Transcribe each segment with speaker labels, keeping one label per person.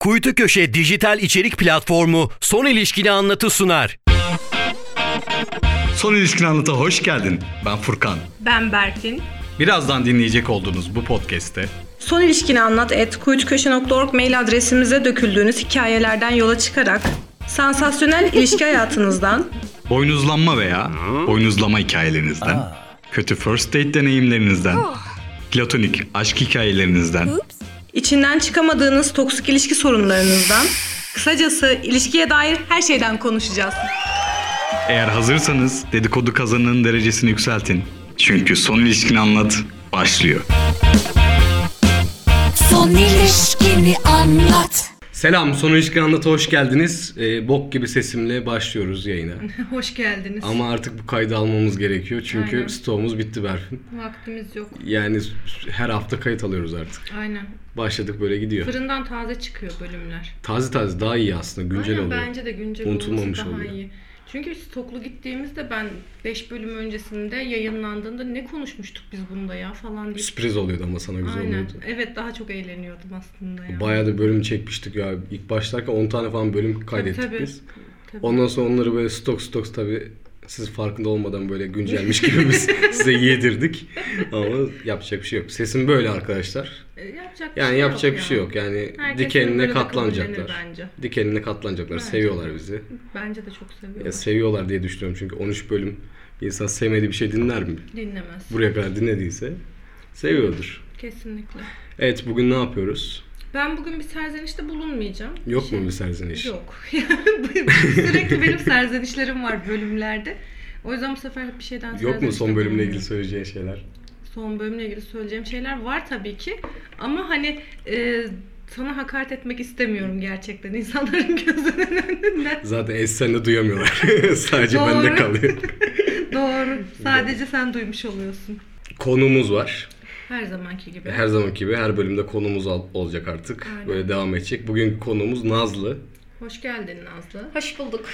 Speaker 1: Kuytu Köşe dijital içerik platformu Son İlişkili Anlatı sunar.
Speaker 2: Son ilişkin anlata hoş geldin. Ben Furkan.
Speaker 3: Ben Berkin.
Speaker 2: Birazdan dinleyecek olduğunuz bu podcast'te
Speaker 3: Son ilişkini anlat et kuytuköşe.org mail adresimize döküldüğünüz hikayelerden yola çıkarak sansasyonel ilişki hayatınızdan
Speaker 2: boynuzlanma veya boynuzlama hikayelerinizden, kötü first date deneyimlerinizden, platonik aşk hikayelerinizden,
Speaker 3: İçinden çıkamadığınız toksik ilişki sorunlarınızdan, kısacası ilişkiye dair her şeyden konuşacağız.
Speaker 2: eğer hazırsanız dedikodu kazanının derecesini yükseltin. Çünkü son ilişkin anlat başlıyor.
Speaker 4: Son ilişkini anlat.
Speaker 5: Selam, Son İlişkin Anlat'a hoş geldiniz. Ee, bok gibi sesimle başlıyoruz yayına.
Speaker 3: Hoş geldiniz.
Speaker 5: Ama artık bu kaydı almamız gerekiyor çünkü
Speaker 3: Aynen.
Speaker 5: stoğumuz bitti Berfin.
Speaker 3: Vaktimiz yok.
Speaker 5: Yani s- her hafta kayıt alıyoruz artık.
Speaker 3: Aynen.
Speaker 5: Başladık böyle gidiyor.
Speaker 3: Fırından taze çıkıyor bölümler.
Speaker 5: Taze taze daha iyi aslında, güncel
Speaker 3: Aynen,
Speaker 5: oluyor.
Speaker 3: bence de güncel
Speaker 5: Unutulmamış
Speaker 3: olması daha
Speaker 5: oluyor.
Speaker 3: iyi. Çünkü stoklu gittiğimizde ben 5 bölüm öncesinde yayınlandığında ne konuşmuştuk biz bunda ya falan diye.
Speaker 5: Sürpriz oluyordu ama sana güzel
Speaker 3: Aynen.
Speaker 5: oluyordu.
Speaker 3: Evet daha çok eğleniyordum aslında ya.
Speaker 5: Bayağı da bölüm çekmiştik ya. İlk başlarken 10 tane falan bölüm kaydettik
Speaker 3: tabii.
Speaker 5: biz.
Speaker 3: Tabii.
Speaker 5: Ondan sonra onları böyle stok stok tabii siz farkında olmadan böyle güncelmiş gibi biz size yedirdik. Ama yapacak bir şey yok. Sesim böyle arkadaşlar.
Speaker 3: E, yapacak bir
Speaker 5: Yani
Speaker 3: şey
Speaker 5: yapacak
Speaker 3: yok
Speaker 5: bir şey
Speaker 3: ya.
Speaker 5: yok. Yani
Speaker 3: Herkes
Speaker 5: dikenine
Speaker 3: birbirine
Speaker 5: katlanacaklar.
Speaker 3: kabullenir bence.
Speaker 5: Dikenine katlanacaklar.
Speaker 3: Bence
Speaker 5: seviyorlar
Speaker 3: de.
Speaker 5: bizi.
Speaker 3: Bence de çok seviyorum.
Speaker 5: Ya seviyorlar diye düşünüyorum çünkü 13 bölüm bir insan sevmediği bir şey dinler mi?
Speaker 3: Dinlemez.
Speaker 5: Buraya kadar dinlediyse seviyordur.
Speaker 3: Kesinlikle.
Speaker 5: Evet bugün ne yapıyoruz?
Speaker 3: Ben bugün bir serzenişte bulunmayacağım. Şey,
Speaker 5: Yok mu bir serzeniş?
Speaker 3: Yok. Sürekli benim serzenişlerim var bölümlerde. O yüzden bu sefer bir şeyden
Speaker 5: Yok mu
Speaker 3: serzenişte
Speaker 5: son bölümle
Speaker 3: bulunmuyorum.
Speaker 5: ilgili söyleyeceğin şeyler?
Speaker 3: son bölümle ilgili söyleyeceğim şeyler var tabii ki. Ama hani e, sana hakaret etmek istemiyorum gerçekten insanların gözünün önünden.
Speaker 5: Zaten Esen de duyamıyorlar. Sadece
Speaker 3: Doğru.
Speaker 5: bende kalıyor.
Speaker 3: Doğru. Sadece sen duymuş oluyorsun.
Speaker 5: Konumuz var.
Speaker 3: Her zamanki gibi.
Speaker 5: Her zamanki gibi her bölümde konumuz al- olacak artık.
Speaker 3: Aynen.
Speaker 5: Böyle devam edecek. Bugünkü konumuz Nazlı.
Speaker 3: Hoş geldin Nazlı.
Speaker 6: Hoş bulduk.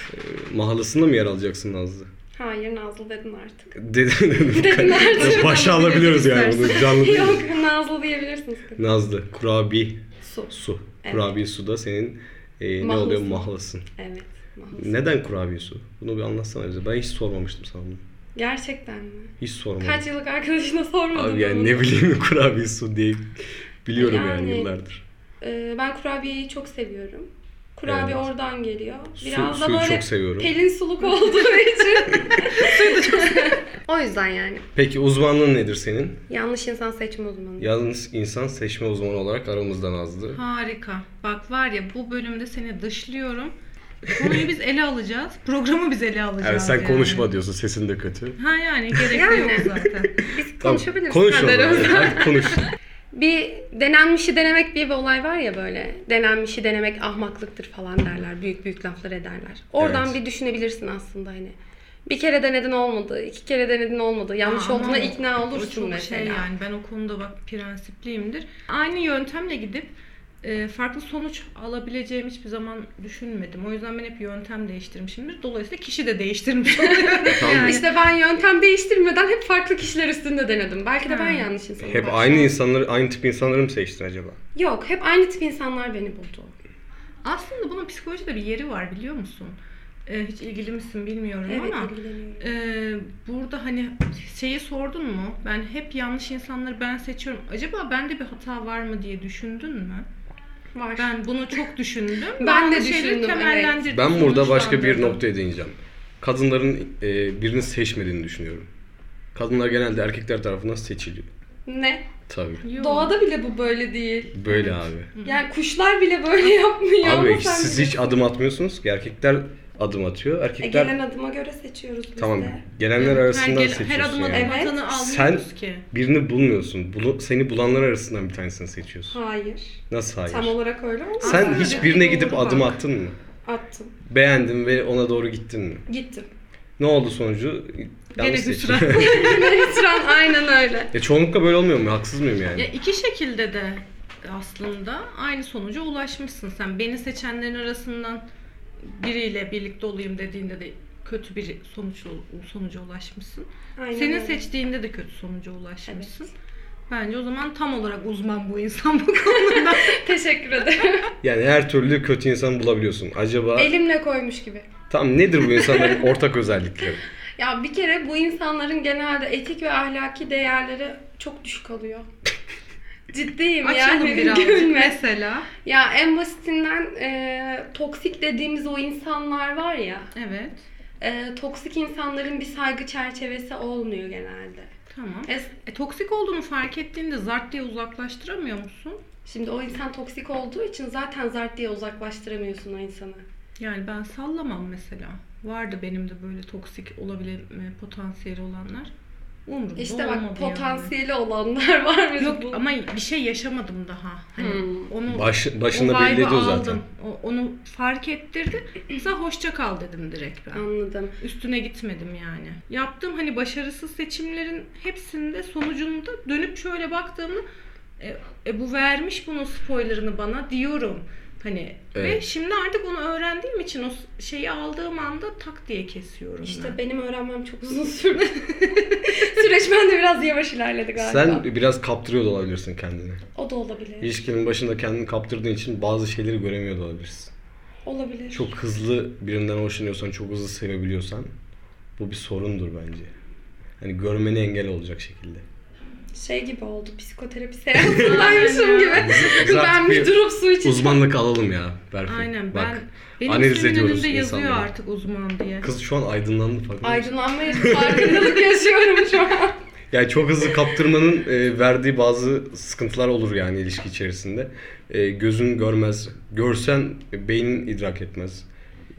Speaker 5: Mahallasında mı yer alacaksın Nazlı?
Speaker 6: Hayır Nazlı dedin artık.
Speaker 5: Dedim dedim.
Speaker 6: artık.
Speaker 5: Başa alabiliyoruz yani bunu canlı değil.
Speaker 6: Yok Nazlı diyebilirsiniz.
Speaker 5: Nazlı, kurabi
Speaker 6: Su.
Speaker 5: su.
Speaker 6: Evet.
Speaker 5: Kurabi su da senin e, ne
Speaker 6: Mahlasın.
Speaker 5: oluyor mahlasın.
Speaker 6: Evet. mahsus.
Speaker 5: Neden kurabi su? Bunu bir anlatsana bize. Ben hiç sormamıştım sana bunu.
Speaker 6: Gerçekten mi?
Speaker 5: Hiç sormadım.
Speaker 6: Kaç yıllık arkadaşına sormadım.
Speaker 5: Abi yani ne bileyim kurabi su diye biliyorum yani,
Speaker 6: Yani,
Speaker 5: yıllardır.
Speaker 6: Ee, ben kurabiyeyi çok seviyorum. Kurabiye
Speaker 5: Evet.
Speaker 6: oradan geliyor.
Speaker 5: Su-
Speaker 6: Biraz da
Speaker 5: suyu
Speaker 6: böyle
Speaker 5: çok seviyorum.
Speaker 6: pelin suluk olduğu için. o yüzden yani.
Speaker 5: Peki uzmanlığın nedir senin?
Speaker 6: Yanlış insan seçme uzmanı.
Speaker 5: Yalnız insan seçme uzmanı olarak aramızdan azdı.
Speaker 3: Harika. Bak var ya bu bölümde seni dışlıyorum. Konuyu biz ele alacağız. Programı biz ele alacağız.
Speaker 5: Yani sen
Speaker 3: yani.
Speaker 5: konuşma diyorsun sesin de kötü.
Speaker 3: Ha yani gerek de
Speaker 6: Yani.
Speaker 3: yok zaten.
Speaker 6: Biz
Speaker 5: Tamam,
Speaker 6: konuşabiliriz.
Speaker 5: Konuş o
Speaker 6: kaderimiz.
Speaker 5: zaman. Hadi konuş.
Speaker 6: Bir denenmişi denemek diye bir olay var ya böyle. Denenmişi denemek ahmaklıktır falan derler. Büyük büyük laflar ederler. Oradan
Speaker 5: Evet.
Speaker 6: bir düşünebilirsin aslında hani. Bir kere denedin olmadı, iki kere denedin olmadı. Yanlış
Speaker 3: Aa,
Speaker 6: olduğuna
Speaker 3: ama
Speaker 6: ikna
Speaker 3: o
Speaker 6: olursun
Speaker 3: çok
Speaker 6: mesela.
Speaker 3: Şey yani ben o konuda bak prensipliyimdir. Aynı yöntemle gidip e, farklı sonuç alabileceğim hiçbir zaman düşünmedim. O yüzden ben hep yöntem değiştirmişimdir. Dolayısıyla kişi de değiştirmiş oluyorum.
Speaker 5: Tamam.
Speaker 6: İşte ben yöntem değiştirmeden hep farklı kişiler üstünde denedim. Belki de
Speaker 3: Ha.
Speaker 6: ben yanlış insanım.
Speaker 5: Hep
Speaker 6: Bak.
Speaker 5: aynı insanları, aynı tip insanları mı seçtin acaba?
Speaker 6: Yok, hep aynı tip insanlar beni buldu.
Speaker 3: Aslında bunun psikolojide bir yeri var biliyor musun? E, hiç ilgili misin bilmiyorum
Speaker 6: Evet,
Speaker 3: ama
Speaker 6: ilgileniyorum.
Speaker 3: e, burada hani şeyi sordun mu? Ben hep yanlış insanları ben seçiyorum. Acaba bende bir hata var mı diye düşündün mü?
Speaker 6: Var.
Speaker 3: Ben bunu çok düşündüm.
Speaker 6: Ben
Speaker 3: Bazı
Speaker 6: de
Speaker 3: şeyleri
Speaker 6: düşündüm, evet.
Speaker 3: temellendirdim,
Speaker 5: Ben burada başka bir
Speaker 3: sonuçlandırdım.
Speaker 5: noktaya değineceğim. Kadınların e, birini seçmediğini düşünüyorum. Kadınlar genelde erkekler tarafından seçiliyor.
Speaker 6: Ne?
Speaker 5: Tabii.
Speaker 3: Yok.
Speaker 6: Doğada bile bu böyle değil.
Speaker 5: Böyle abi.
Speaker 6: Yani kuşlar bile böyle yapmıyor.
Speaker 5: Abi
Speaker 6: ama sen
Speaker 5: siz hiç
Speaker 6: bilirsin.
Speaker 5: adım atmıyorsunuz ki erkekler adım atıyor.
Speaker 6: E,
Speaker 5: Erkekler
Speaker 6: gelen adıma göre seçiyoruz biz
Speaker 5: tamam
Speaker 6: de.
Speaker 5: gelenler arasından
Speaker 3: her, gel-
Speaker 5: seçiyorsun.
Speaker 3: her adım adım
Speaker 5: yani.
Speaker 6: Evet.
Speaker 3: atanı almıyoruz
Speaker 5: Sen-
Speaker 3: ki.
Speaker 5: Birini bulmuyorsun. Bulu- seni bulanlar arasından bir tanesini seçiyorsun.
Speaker 6: Hayır.
Speaker 5: Nasıl hayır?
Speaker 6: Tam olarak öyle olmadı.
Speaker 5: Sen
Speaker 3: Aslında
Speaker 5: hiç
Speaker 3: dediğin
Speaker 5: birine gidip
Speaker 3: doğru
Speaker 5: adım
Speaker 3: bak.
Speaker 5: attın mı?
Speaker 6: Attım.
Speaker 5: Beğendin ve ona doğru gittin mi?
Speaker 6: Gittim.
Speaker 5: Ne oldu sonucu?
Speaker 3: Gene
Speaker 5: Yanlış
Speaker 3: hüsran.
Speaker 5: seçim.
Speaker 6: Hüsran aynen öyle.
Speaker 5: ya çoğunlukla böyle olmuyor mu? Haksız mıyım yani?
Speaker 3: Ya iki şekilde de aslında aynı sonuca ulaşmışsın sen. Beni seçenlerin arasından biriyle birlikte olayım dediğinde de kötü bir sonuç sonuca ulaşmışsın.
Speaker 6: Aynen
Speaker 3: Senin
Speaker 6: öyle.
Speaker 3: seçtiğinde de kötü sonuca ulaşmışsın. Bence o zaman tam olarak uzman bu insan bu konuda.
Speaker 6: Teşekkür ederim.
Speaker 5: Yani her türlü kötü insan bulabiliyorsun. Acaba
Speaker 3: E-
Speaker 6: Elimle koymuş gibi.
Speaker 5: tam nedir bu insanların ortak özellikleri?
Speaker 6: Ya bir kere bu insanların genelde etik ve ahlaki değerleri çok düşük oluyor. Ciddiyim
Speaker 3: Açalım
Speaker 6: yani.
Speaker 3: birazcık
Speaker 6: Gülme.
Speaker 3: mesela.
Speaker 6: Ya en basitinden e, toksik dediğimiz o insanlar var ya.
Speaker 3: Evet.
Speaker 6: e, toksik insanların bir saygı çerçevesi olmuyor genelde.
Speaker 3: Tamam.
Speaker 6: E,
Speaker 3: E, toksik olduğunu fark ettiğinde zart diye uzaklaştıramıyor musun?
Speaker 6: şimdi o insan toksik olduğu için zaten zart diye uzaklaştıramıyorsun o insanı.
Speaker 3: Yani ben sallamam mesela. Vardı benim de böyle toksik olabilme potansiyeli olanlar. Umurumda
Speaker 6: İşte bak
Speaker 3: olmadı yani.
Speaker 6: potansiyeli olanlar var bizim
Speaker 3: Yok
Speaker 6: bu.
Speaker 3: ama bir şey yaşamadım daha. Hani
Speaker 6: Hmm.
Speaker 3: onu
Speaker 5: Baş, başında
Speaker 3: vibe'ı
Speaker 5: belliydi o zaten.
Speaker 3: aldım. O- onu fark ettirdi. Mesela hoşça kal dedim direkt ben.
Speaker 6: Anladım.
Speaker 3: Üstüne gitmedim yani. Yaptığım hani başarısız seçimlerin hepsinde sonucunda dönüp şöyle baktığımda e, e, bu vermiş bunun spoilerını bana diyorum. Hani ve
Speaker 5: Evet.
Speaker 3: şimdi artık onu öğrendiğim için o s- şeyi aldığım anda tak diye kesiyorum
Speaker 6: İşte
Speaker 3: ben.
Speaker 6: benim öğrenmem çok uzun sürdü. Süreç bende biraz yavaş ilerledi galiba.
Speaker 5: Sen biraz kaptırıyor da olabilirsin kendini.
Speaker 6: O da olabilir.
Speaker 5: İlişkinin başında kendini kaptırdığın için bazı şeyleri göremiyor da olabilirsin.
Speaker 6: Olabilir.
Speaker 5: Çok hızlı birinden hoşlanıyorsan, çok hızlı sevebiliyorsan bu bir sorundur bence. Hani görmeni engel olacak şekilde.
Speaker 6: Şey gibi oldu. Psikoterapi seansındaymışım gibi.
Speaker 5: biz artık
Speaker 6: ben bir
Speaker 5: bir
Speaker 6: durup su içeceğim.
Speaker 5: Uzmanlık alalım ya Berfin.
Speaker 3: Aynen
Speaker 5: Bak,
Speaker 3: ben benim
Speaker 5: analiz
Speaker 3: ismimin
Speaker 5: ediyoruz
Speaker 3: önünde yazıyor
Speaker 5: insanları.
Speaker 3: artık uzman diye.
Speaker 5: Kız şu an aydınlandı farkında mısın?
Speaker 6: Aydınlanma yaşıyorum. Farkındalık yaşıyorum şu an.
Speaker 5: Yani çok hızlı kaptırmanın e, verdiği bazı sıkıntılar olur yani ilişki içerisinde. E, gözün görmez, görsen e, beynin idrak etmez.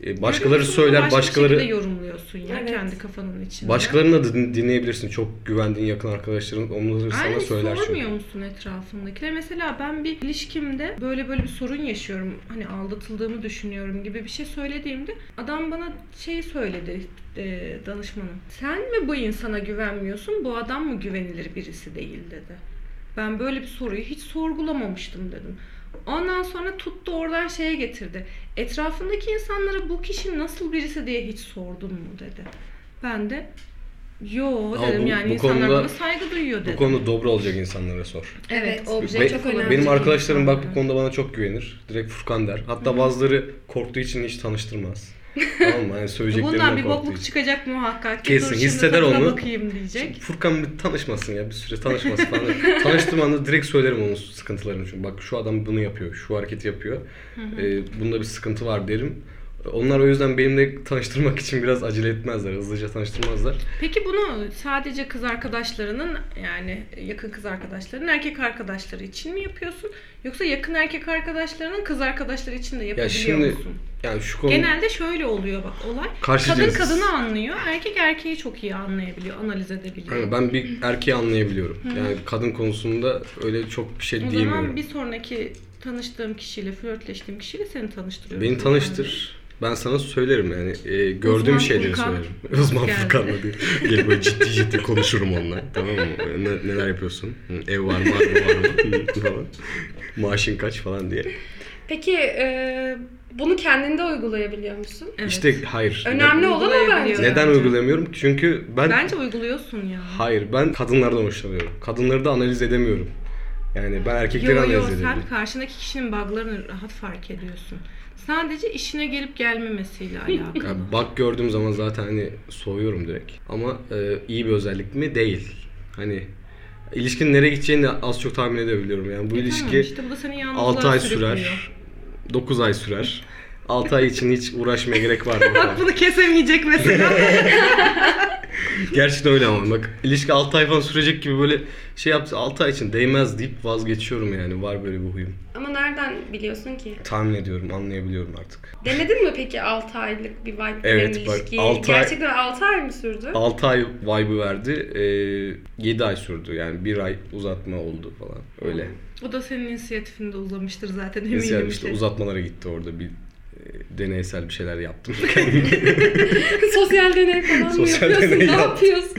Speaker 5: E, başkaları
Speaker 3: Görüyorsun ama
Speaker 5: söyler,
Speaker 3: başka şekilde
Speaker 5: başkaları
Speaker 3: yorumluyorsun ya
Speaker 6: Evet.
Speaker 3: kendi kafanın içinde.
Speaker 5: başkalarını da din- dinleyebilirsin. Çok güvendiğin yakın arkadaşların onları
Speaker 3: Aynen
Speaker 5: sana söyler çünkü.
Speaker 3: sormuyor musun etrafındakilere? Mesela ben bir ilişkimde böyle böyle bir sorun yaşıyorum. Hani aldatıldığımı düşünüyorum gibi bir şey söylediğimde adam bana şey söyledi e, danışmanım. Sen mi bu insana güvenmiyorsun? Bu adam mı güvenilir birisi değil dedi. Ben böyle bir soruyu hiç sorgulamamıştım dedim. Ondan sonra tuttu oradan şeye getirdi. Etrafındaki insanlara bu kişi nasıl birisi diye hiç sordun mu dedi. Ben de yo
Speaker 5: Ama
Speaker 3: dedim
Speaker 5: bu-
Speaker 3: yani
Speaker 5: bu
Speaker 3: insanlar
Speaker 5: konuda-
Speaker 3: bana saygı duyuyor dedim.
Speaker 5: Bu konuda dobra olacak insanlara sor.
Speaker 3: Evet,
Speaker 6: obje
Speaker 5: Be-
Speaker 6: çok önemli.
Speaker 5: benim arkadaşlarım bak bu
Speaker 3: insanlar.
Speaker 5: konuda bana çok güvenir. Direkt Furkan der. Hatta bazıları korktuğu için hiç tanıştırmaz. tamam mı? Hani Yani
Speaker 3: Bundan
Speaker 5: söyleyeceklerinden
Speaker 3: bir
Speaker 5: korktuğu
Speaker 3: bokluk
Speaker 5: için.
Speaker 3: çıkacak muhakkak. ki.
Speaker 5: Kesin,
Speaker 3: Dur şimdi
Speaker 5: hisseder
Speaker 3: tadına
Speaker 5: onu.
Speaker 3: bakayım diyecek.
Speaker 5: Furkan bir tanışmasın ya bir süre tanışmasın falan. Tanıştığım anda direkt söylerim onun sıkıntılarını çünkü. Bak şu adam bunu yapıyor, şu hareketi yapıyor. Ee, bunda bir sıkıntı var derim. Onlar o yüzden benimle tanıştırmak için biraz acele etmezler, hızlıca tanıştırmazlar.
Speaker 3: Peki bunu sadece kız arkadaşlarının yani yakın kız arkadaşlarının erkek arkadaşları için mi yapıyorsun? Yoksa yakın erkek arkadaşlarının kız arkadaşları için de yapabiliyor
Speaker 5: şimdi-
Speaker 3: musun?
Speaker 5: Yani şu konu
Speaker 3: Genelde şöyle oluyor bak olay.
Speaker 5: Karşı
Speaker 3: kadın
Speaker 5: cins.
Speaker 3: kadını anlıyor. Erkek erkeği çok iyi anlayabiliyor, analiz edebiliyor.
Speaker 5: Yani ben bir erkeği anlayabiliyorum. Yani kadın konusunda öyle çok bir şey
Speaker 3: o
Speaker 5: diyemiyorum.
Speaker 3: zaman bir sonraki tanıştığım kişiyle, flörtleştiğim kişiyle seni tanıştırıyorum.
Speaker 5: Beni tanıştır. Ben sana söylerim yani e, gördüğüm
Speaker 3: Uzman
Speaker 5: şeyleri
Speaker 3: Furkan
Speaker 5: söylerim. Uzman
Speaker 3: geldi.
Speaker 5: Furkan'la diye. Gelip böyle ciddi ciddi konuşurum onunla. Tamam mı? E, Ne- neler yapıyorsun? Hı, Ev var mı? Var mı? Var mı? Hı, falan. Maaşın kaç falan diye.
Speaker 6: Peki e, bunu kendinde uygulayabiliyor musun?
Speaker 3: Evet.
Speaker 5: İşte hayır.
Speaker 6: Önemli olan o bence.
Speaker 3: Uygulayabiliyorum.
Speaker 5: Neden uygulamıyorum? Çünkü ben
Speaker 3: Bence uyguluyorsun ya.
Speaker 5: hayır ben kadınlardan hoşlanıyorum. Kadınları da analiz edemiyorum. Yani ben erkekleri
Speaker 3: Yo yo
Speaker 5: analiz
Speaker 3: sen
Speaker 5: edemiyorum.
Speaker 3: karşındaki kişinin buglarını rahat fark ediyorsun. Sadece işine gelip gelmemesiyle alakalı. E,
Speaker 5: Ya bak gördüğüm zaman zaten hani soğuyorum direkt. Ama e, iyi bir özellik mi? Değil. Hani ilişkinin nereye gideceğini de az çok tahmin edebiliyorum. Yani bu
Speaker 3: E
Speaker 5: ilişki
Speaker 3: tamam, işte bu da seni yalnızlığa
Speaker 5: 6 ay
Speaker 3: sürüklüyor.
Speaker 5: sürer. 9 ay sürer. 6 ay için hiç uğraşmaya gerek var mı? falan.
Speaker 3: Bunu kesemeyecek mesela.
Speaker 5: Gerçekten öyle ama bak ilişki 6 ay falan sürecek gibi böyle şey yaptı 6 ay için değmez deyip vazgeçiyorum yani. Var böyle bir huyum.
Speaker 6: Ama nereden biliyorsun ki?
Speaker 5: Tahmin ediyorum, anlayabiliyorum artık.
Speaker 6: Denedin mi peki 6 aylık bir vibe
Speaker 5: Evet,
Speaker 6: denen
Speaker 5: bak,
Speaker 6: ilişkiyi?
Speaker 5: altı ay-
Speaker 6: Gerçekten 6 ay mı sürdü?
Speaker 5: 6 ay vibe'ı verdi. E, 7 ay sürdü. Yani 1 ay uzatma oldu falan. Öyle.
Speaker 3: bu da senin inisiyatifinde uzamıştır zaten eminim.
Speaker 5: Neyse yani işte
Speaker 3: işte.
Speaker 5: uzatmalara gitti orada bir e, deneysel bir şeyler yaptım.
Speaker 6: Sosyal deney falan mı
Speaker 5: Sosyal
Speaker 6: yapıyorsun?
Speaker 5: deney
Speaker 6: ne
Speaker 5: yaptım.
Speaker 6: yapıyorsun?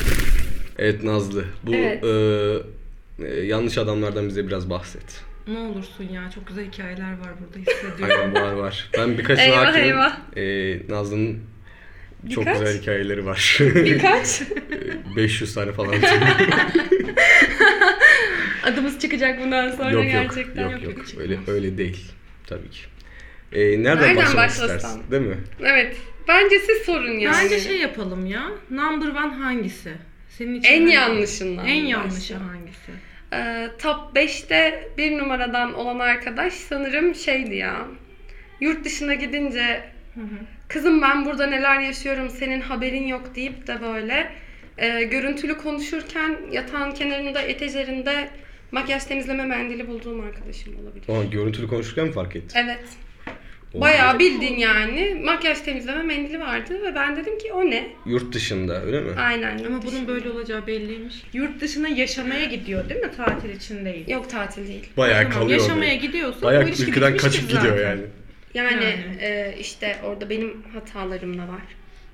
Speaker 5: evet Nazlı bu
Speaker 6: Evet.
Speaker 5: e, e, yanlış adamlardan bize biraz bahset.
Speaker 3: Ne olursun ya çok güzel hikayeler var burada hissediyorum.
Speaker 5: Aynen var var. Ben birkaçına
Speaker 6: Eyvah,
Speaker 5: hakimim.
Speaker 6: eyvah.
Speaker 5: E, Nazlı'nın Çok
Speaker 6: Birkaç?
Speaker 5: güzel hikayeleri var.
Speaker 6: Birkaç.
Speaker 5: 500 tane falan.
Speaker 6: Adımız çıkacak bundan sonra
Speaker 5: yok, yok,
Speaker 6: gerçekten.
Speaker 5: yok yok Öyle öyle değil tabii ki. Ee, nereden,
Speaker 6: Nereden
Speaker 5: başlamak
Speaker 6: başlasam?
Speaker 5: istersin? Değil mi?
Speaker 6: Evet. Bence siz sorun yani.
Speaker 3: Bence şey yapalım ya. Number one hangisi? Senin için
Speaker 6: en
Speaker 3: hani-
Speaker 6: yanlışından.
Speaker 3: En
Speaker 6: başla.
Speaker 3: yanlışı hangisi?
Speaker 6: Ee, top 5'te bir numaradan olan arkadaş sanırım şeydi ya. Yurt dışına gidince kızım ben burada neler yaşıyorum senin haberin yok deyip de böyle e, görüntülü konuşurken yatağın kenarında etejerinde makyaj temizleme mendili bulduğum arkadaşım olabilir.
Speaker 5: Aa, görüntülü konuşurken mi fark ettin?
Speaker 6: Evet.
Speaker 5: O-
Speaker 6: Bayağı bildin yani. Makyaj temizleme mendili vardı ve ben dedim ki o ne?
Speaker 5: Yurt dışında öyle mi?
Speaker 6: Aynen.
Speaker 3: Ama
Speaker 6: yurt
Speaker 3: bunun
Speaker 6: dışı.
Speaker 3: böyle olacağı belliymiş. Yurt dışına yaşamaya gidiyor değil mi? Tatil için değil.
Speaker 6: Yok tatil değil.
Speaker 5: Bayağı
Speaker 3: Tamam,
Speaker 5: kalıyor. orada.
Speaker 3: Yaşamaya gidiyorsa
Speaker 5: Bayağı
Speaker 3: bu ilişki
Speaker 5: ülkeden
Speaker 3: bitmiştir
Speaker 5: kaçıp
Speaker 3: zaten.
Speaker 5: gidiyor yani.
Speaker 6: Yani,
Speaker 3: Yani.
Speaker 6: e, işte orada benim hatalarım da var.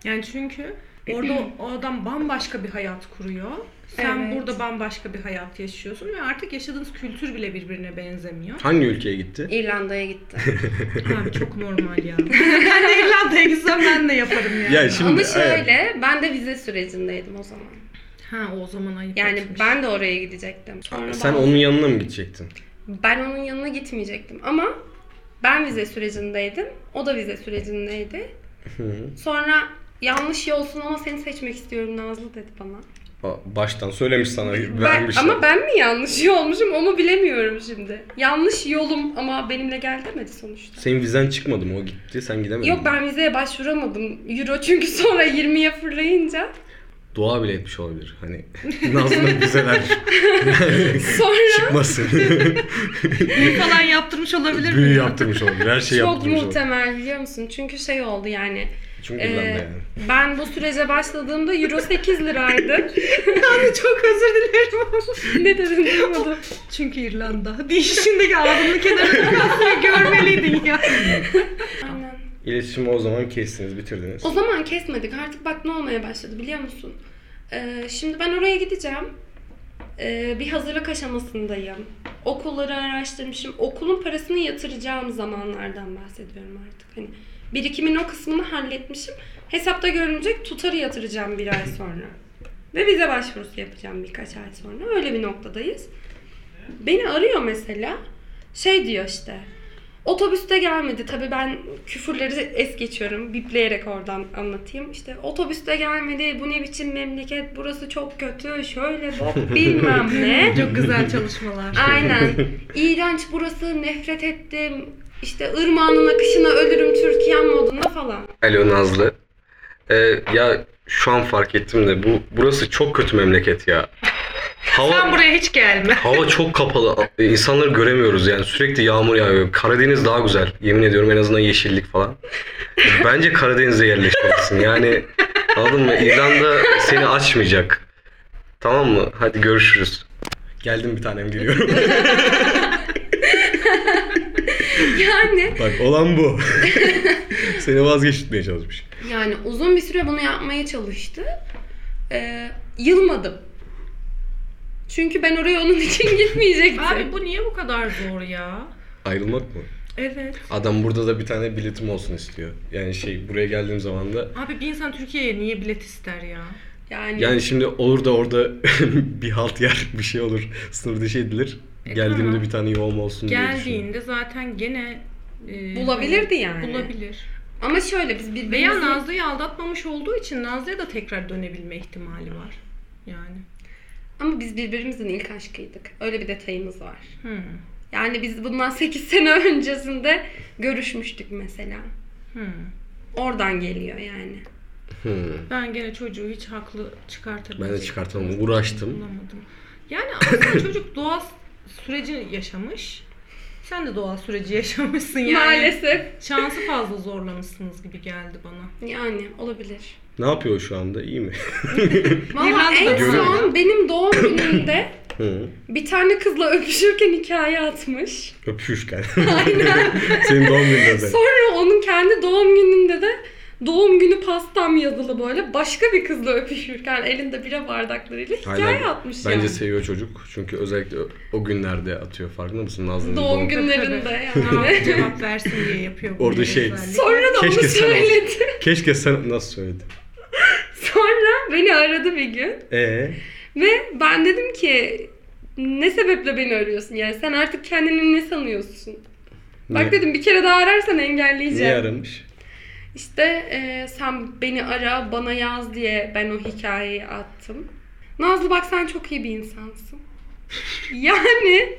Speaker 3: Yani çünkü orada o- o adam bambaşka bir hayat kuruyor. Sen
Speaker 6: Evet.
Speaker 3: burada bambaşka bir hayat yaşıyorsun ve artık yaşadığınız kültür bile birbirine benzemiyor.
Speaker 5: Hangi ülkeye gitti?
Speaker 6: İrlanda'ya gitti.
Speaker 3: Abi çok normal ya. ben de İrlanda'ya gitsem ben de yaparım yani.
Speaker 5: Ya şimdi
Speaker 6: Ama şey-
Speaker 5: aynen.
Speaker 6: şöyle ben de vize sürecindeydim o zaman.
Speaker 3: Ha o zaman ayıp
Speaker 6: Yani
Speaker 3: etmiş.
Speaker 6: ben de oraya gidecektim. Sonra
Speaker 5: Sen
Speaker 6: ben,
Speaker 5: onun yanına mı gidecektin?
Speaker 6: ben onun yanına gitmeyecektim ama ben vize sürecindeydim. O da vize sürecindeydi. Sonra yanlış yolsun ama seni seçmek istiyorum Nazlı dedi bana.
Speaker 5: Aa, Baştan söylemiş sana
Speaker 6: Ben,
Speaker 5: vermiş.
Speaker 6: ama ben mi yanlış yol olmuşum onu bilemiyorum şimdi. Yanlış yolum ama benimle gel demedi sonuçta.
Speaker 5: Senin vizen çıkmadı mı? O gitti. Sen gidemedin.
Speaker 6: Yok ben vizeye başvuramadım. Euro çünkü sonra 20'ye fırlayınca.
Speaker 5: Dua bile etmiş olabilir. Hani Nazlı'nın vizeler
Speaker 6: Sonra
Speaker 5: çıkmasın.
Speaker 3: Büyü falan yaptırmış olabilir mi?
Speaker 5: Büyü yaptırmış olabilir. Her şeyi
Speaker 6: Çok
Speaker 5: yaptırmış olabilir.
Speaker 6: muhtemel biliyor musun? Çünkü şey oldu yani.
Speaker 5: Çünkü
Speaker 6: e,
Speaker 5: İrlanda yani.
Speaker 6: ben bu sürece başladığımda euro 8 liraydı.
Speaker 3: Yani çok özür dilerim.
Speaker 6: ne dedim duymadım.
Speaker 3: Çünkü İrlanda. Dişindeki ağzının kenarını kalsın, görmeliydin ya.
Speaker 6: Aynen.
Speaker 5: İletişimi o zaman kestiniz, bitirdiniz.
Speaker 6: O zaman kesmedik. Artık bak ne olmaya başladı biliyor musun? Ee, şimdi ben oraya gideceğim. Ee, bir hazırlık aşamasındayım. Okulları araştırmışım. Okulun parasını yatıracağım zamanlardan bahsediyorum artık. Hani birikimin o kısmını halletmişim. Hesapta görünecek tutarı yatıracağım bir ay sonra. Ve vize başvurusu yapacağım birkaç ay sonra. Öyle bir noktadayız. Beni arıyor mesela. Şey diyor işte. Otobüste gelmedi. Tabii ben küfürleri es geçiyorum. Bipleyerek oradan anlatayım. İşte otobüste gelmedi. Bu ne biçim memleket? Burası çok kötü. Şöyle bok bilmem ne.
Speaker 3: Çok güzel çalışmalar.
Speaker 6: Aynen. İğrenç burası nefret ettim. İşte ırmağının akışına ölürüm Türkiye moduna falan.
Speaker 5: Alo Nazlı. Ee, ya şu an fark ettim de bu burası çok kötü memleket ya.
Speaker 3: Sen
Speaker 5: Hava,
Speaker 3: buraya hiç gelme.
Speaker 5: hava çok kapalı. Ee, İnsanları göremiyoruz yani. Sürekli yağmur yağıyor. Karadeniz daha güzel. Yemin ediyorum en azından yeşillik falan. Bence Karadeniz'e yerleşmelisin. Yani anladın mı? İrlanda seni açmayacak. Tamam mı? Hadi görüşürüz. Geldim bir tanem geliyorum.
Speaker 6: Yani
Speaker 5: Bak olan bu. seni vazgeçirtmeye çalışmış.
Speaker 6: yani uzun bir süre bunu yapmaya çalıştı. Ee, yılmadım. Çünkü ben oraya onun için gitmeyecektim.
Speaker 3: Abi bu niye bu kadar zor ya?
Speaker 5: Ayrılmak mı?
Speaker 3: Evet.
Speaker 5: Adam burada da bir tane biletim olsun istiyor. Yani şey buraya geldiğim zaman da
Speaker 3: Abi bir insan Türkiye'ye niye bilet ister ya?
Speaker 6: yani,
Speaker 5: yani şimdi olur da orada bir halt yer bir şey olur sınır dışı edilir.
Speaker 6: E,
Speaker 5: Geldiğimde
Speaker 3: tamam.
Speaker 5: bir tane yoğum olsun diye düşünüyorum.
Speaker 3: Geldiğinde zaten gene e,
Speaker 6: Bulabilirdi yani.
Speaker 3: Bulabilir.
Speaker 6: ama şöyle biz birbirimizi...
Speaker 3: Veya Nazlı'yı aldatmamış olduğu için Nazlı'ya da tekrar dönebilme ihtimali var. Yani.
Speaker 6: Ama biz birbirimizin ilk aşkıydık. Öyle bir detayımız var.
Speaker 3: Hmm.
Speaker 6: Yani biz bundan 8 sene öncesinde görüşmüştük mesela.
Speaker 3: Hmm.
Speaker 6: Oradan geliyor yani.
Speaker 5: Hmm.
Speaker 3: Ben gene çocuğu hiç haklı çıkartabilirim.
Speaker 5: Ben de çıkartamam. Uğraştım.
Speaker 3: Bulamadım. Yani aslında çocuk doğal süreci yaşamış. Sen de doğal süreci yaşamışsın yani.
Speaker 6: Maalesef.
Speaker 3: Şansı fazla zorlamışsınız gibi geldi bana.
Speaker 6: Yani olabilir.
Speaker 5: Ne yapıyor şu anda? İyi mi?
Speaker 6: Valla
Speaker 3: İrlanda'da
Speaker 6: en
Speaker 3: görüyorum.
Speaker 6: son benim doğum günümde
Speaker 5: Hı.
Speaker 6: bir tane kızla öpüşürken hikaye atmış.
Speaker 5: Öpüşken. Aynen. Senin doğum gününde de.
Speaker 6: Sonra onun kendi doğum gününde de Doğum günü pastam yazılı böyle. Başka bir kızla öpüşürken elinde bira bardaklarıyla hikaye
Speaker 5: Aynen.
Speaker 6: atmış
Speaker 5: Bence
Speaker 6: yani.
Speaker 5: seviyor çocuk. Çünkü özellikle o- o günlerde atıyor farkında mısın Nazlı'nın
Speaker 6: Doğum
Speaker 5: günü.
Speaker 6: günlerinde
Speaker 3: Ama
Speaker 6: yani.
Speaker 3: cevap versin diye yapıyor. bunu
Speaker 5: Orada
Speaker 3: bir
Speaker 5: şey-
Speaker 3: özellik.
Speaker 6: Sonra da
Speaker 5: Keşke
Speaker 6: onu
Speaker 5: sen olsan.
Speaker 6: söyledi.
Speaker 5: Keşke sen nasıl söyledin?
Speaker 6: Sonra beni aradı bir gün.
Speaker 5: Ee,
Speaker 6: Ve ben dedim ki ne sebeple beni arıyorsun yani sen artık kendini ne sanıyorsun? Bak
Speaker 5: niye-
Speaker 6: dedim bir kere daha ararsan engelleyeceğim.
Speaker 5: Niye aramış?
Speaker 6: İşte e, sen beni ara bana yaz diye ben o hikayeyi attım. Nazlı bak sen çok iyi bir insansın. Yani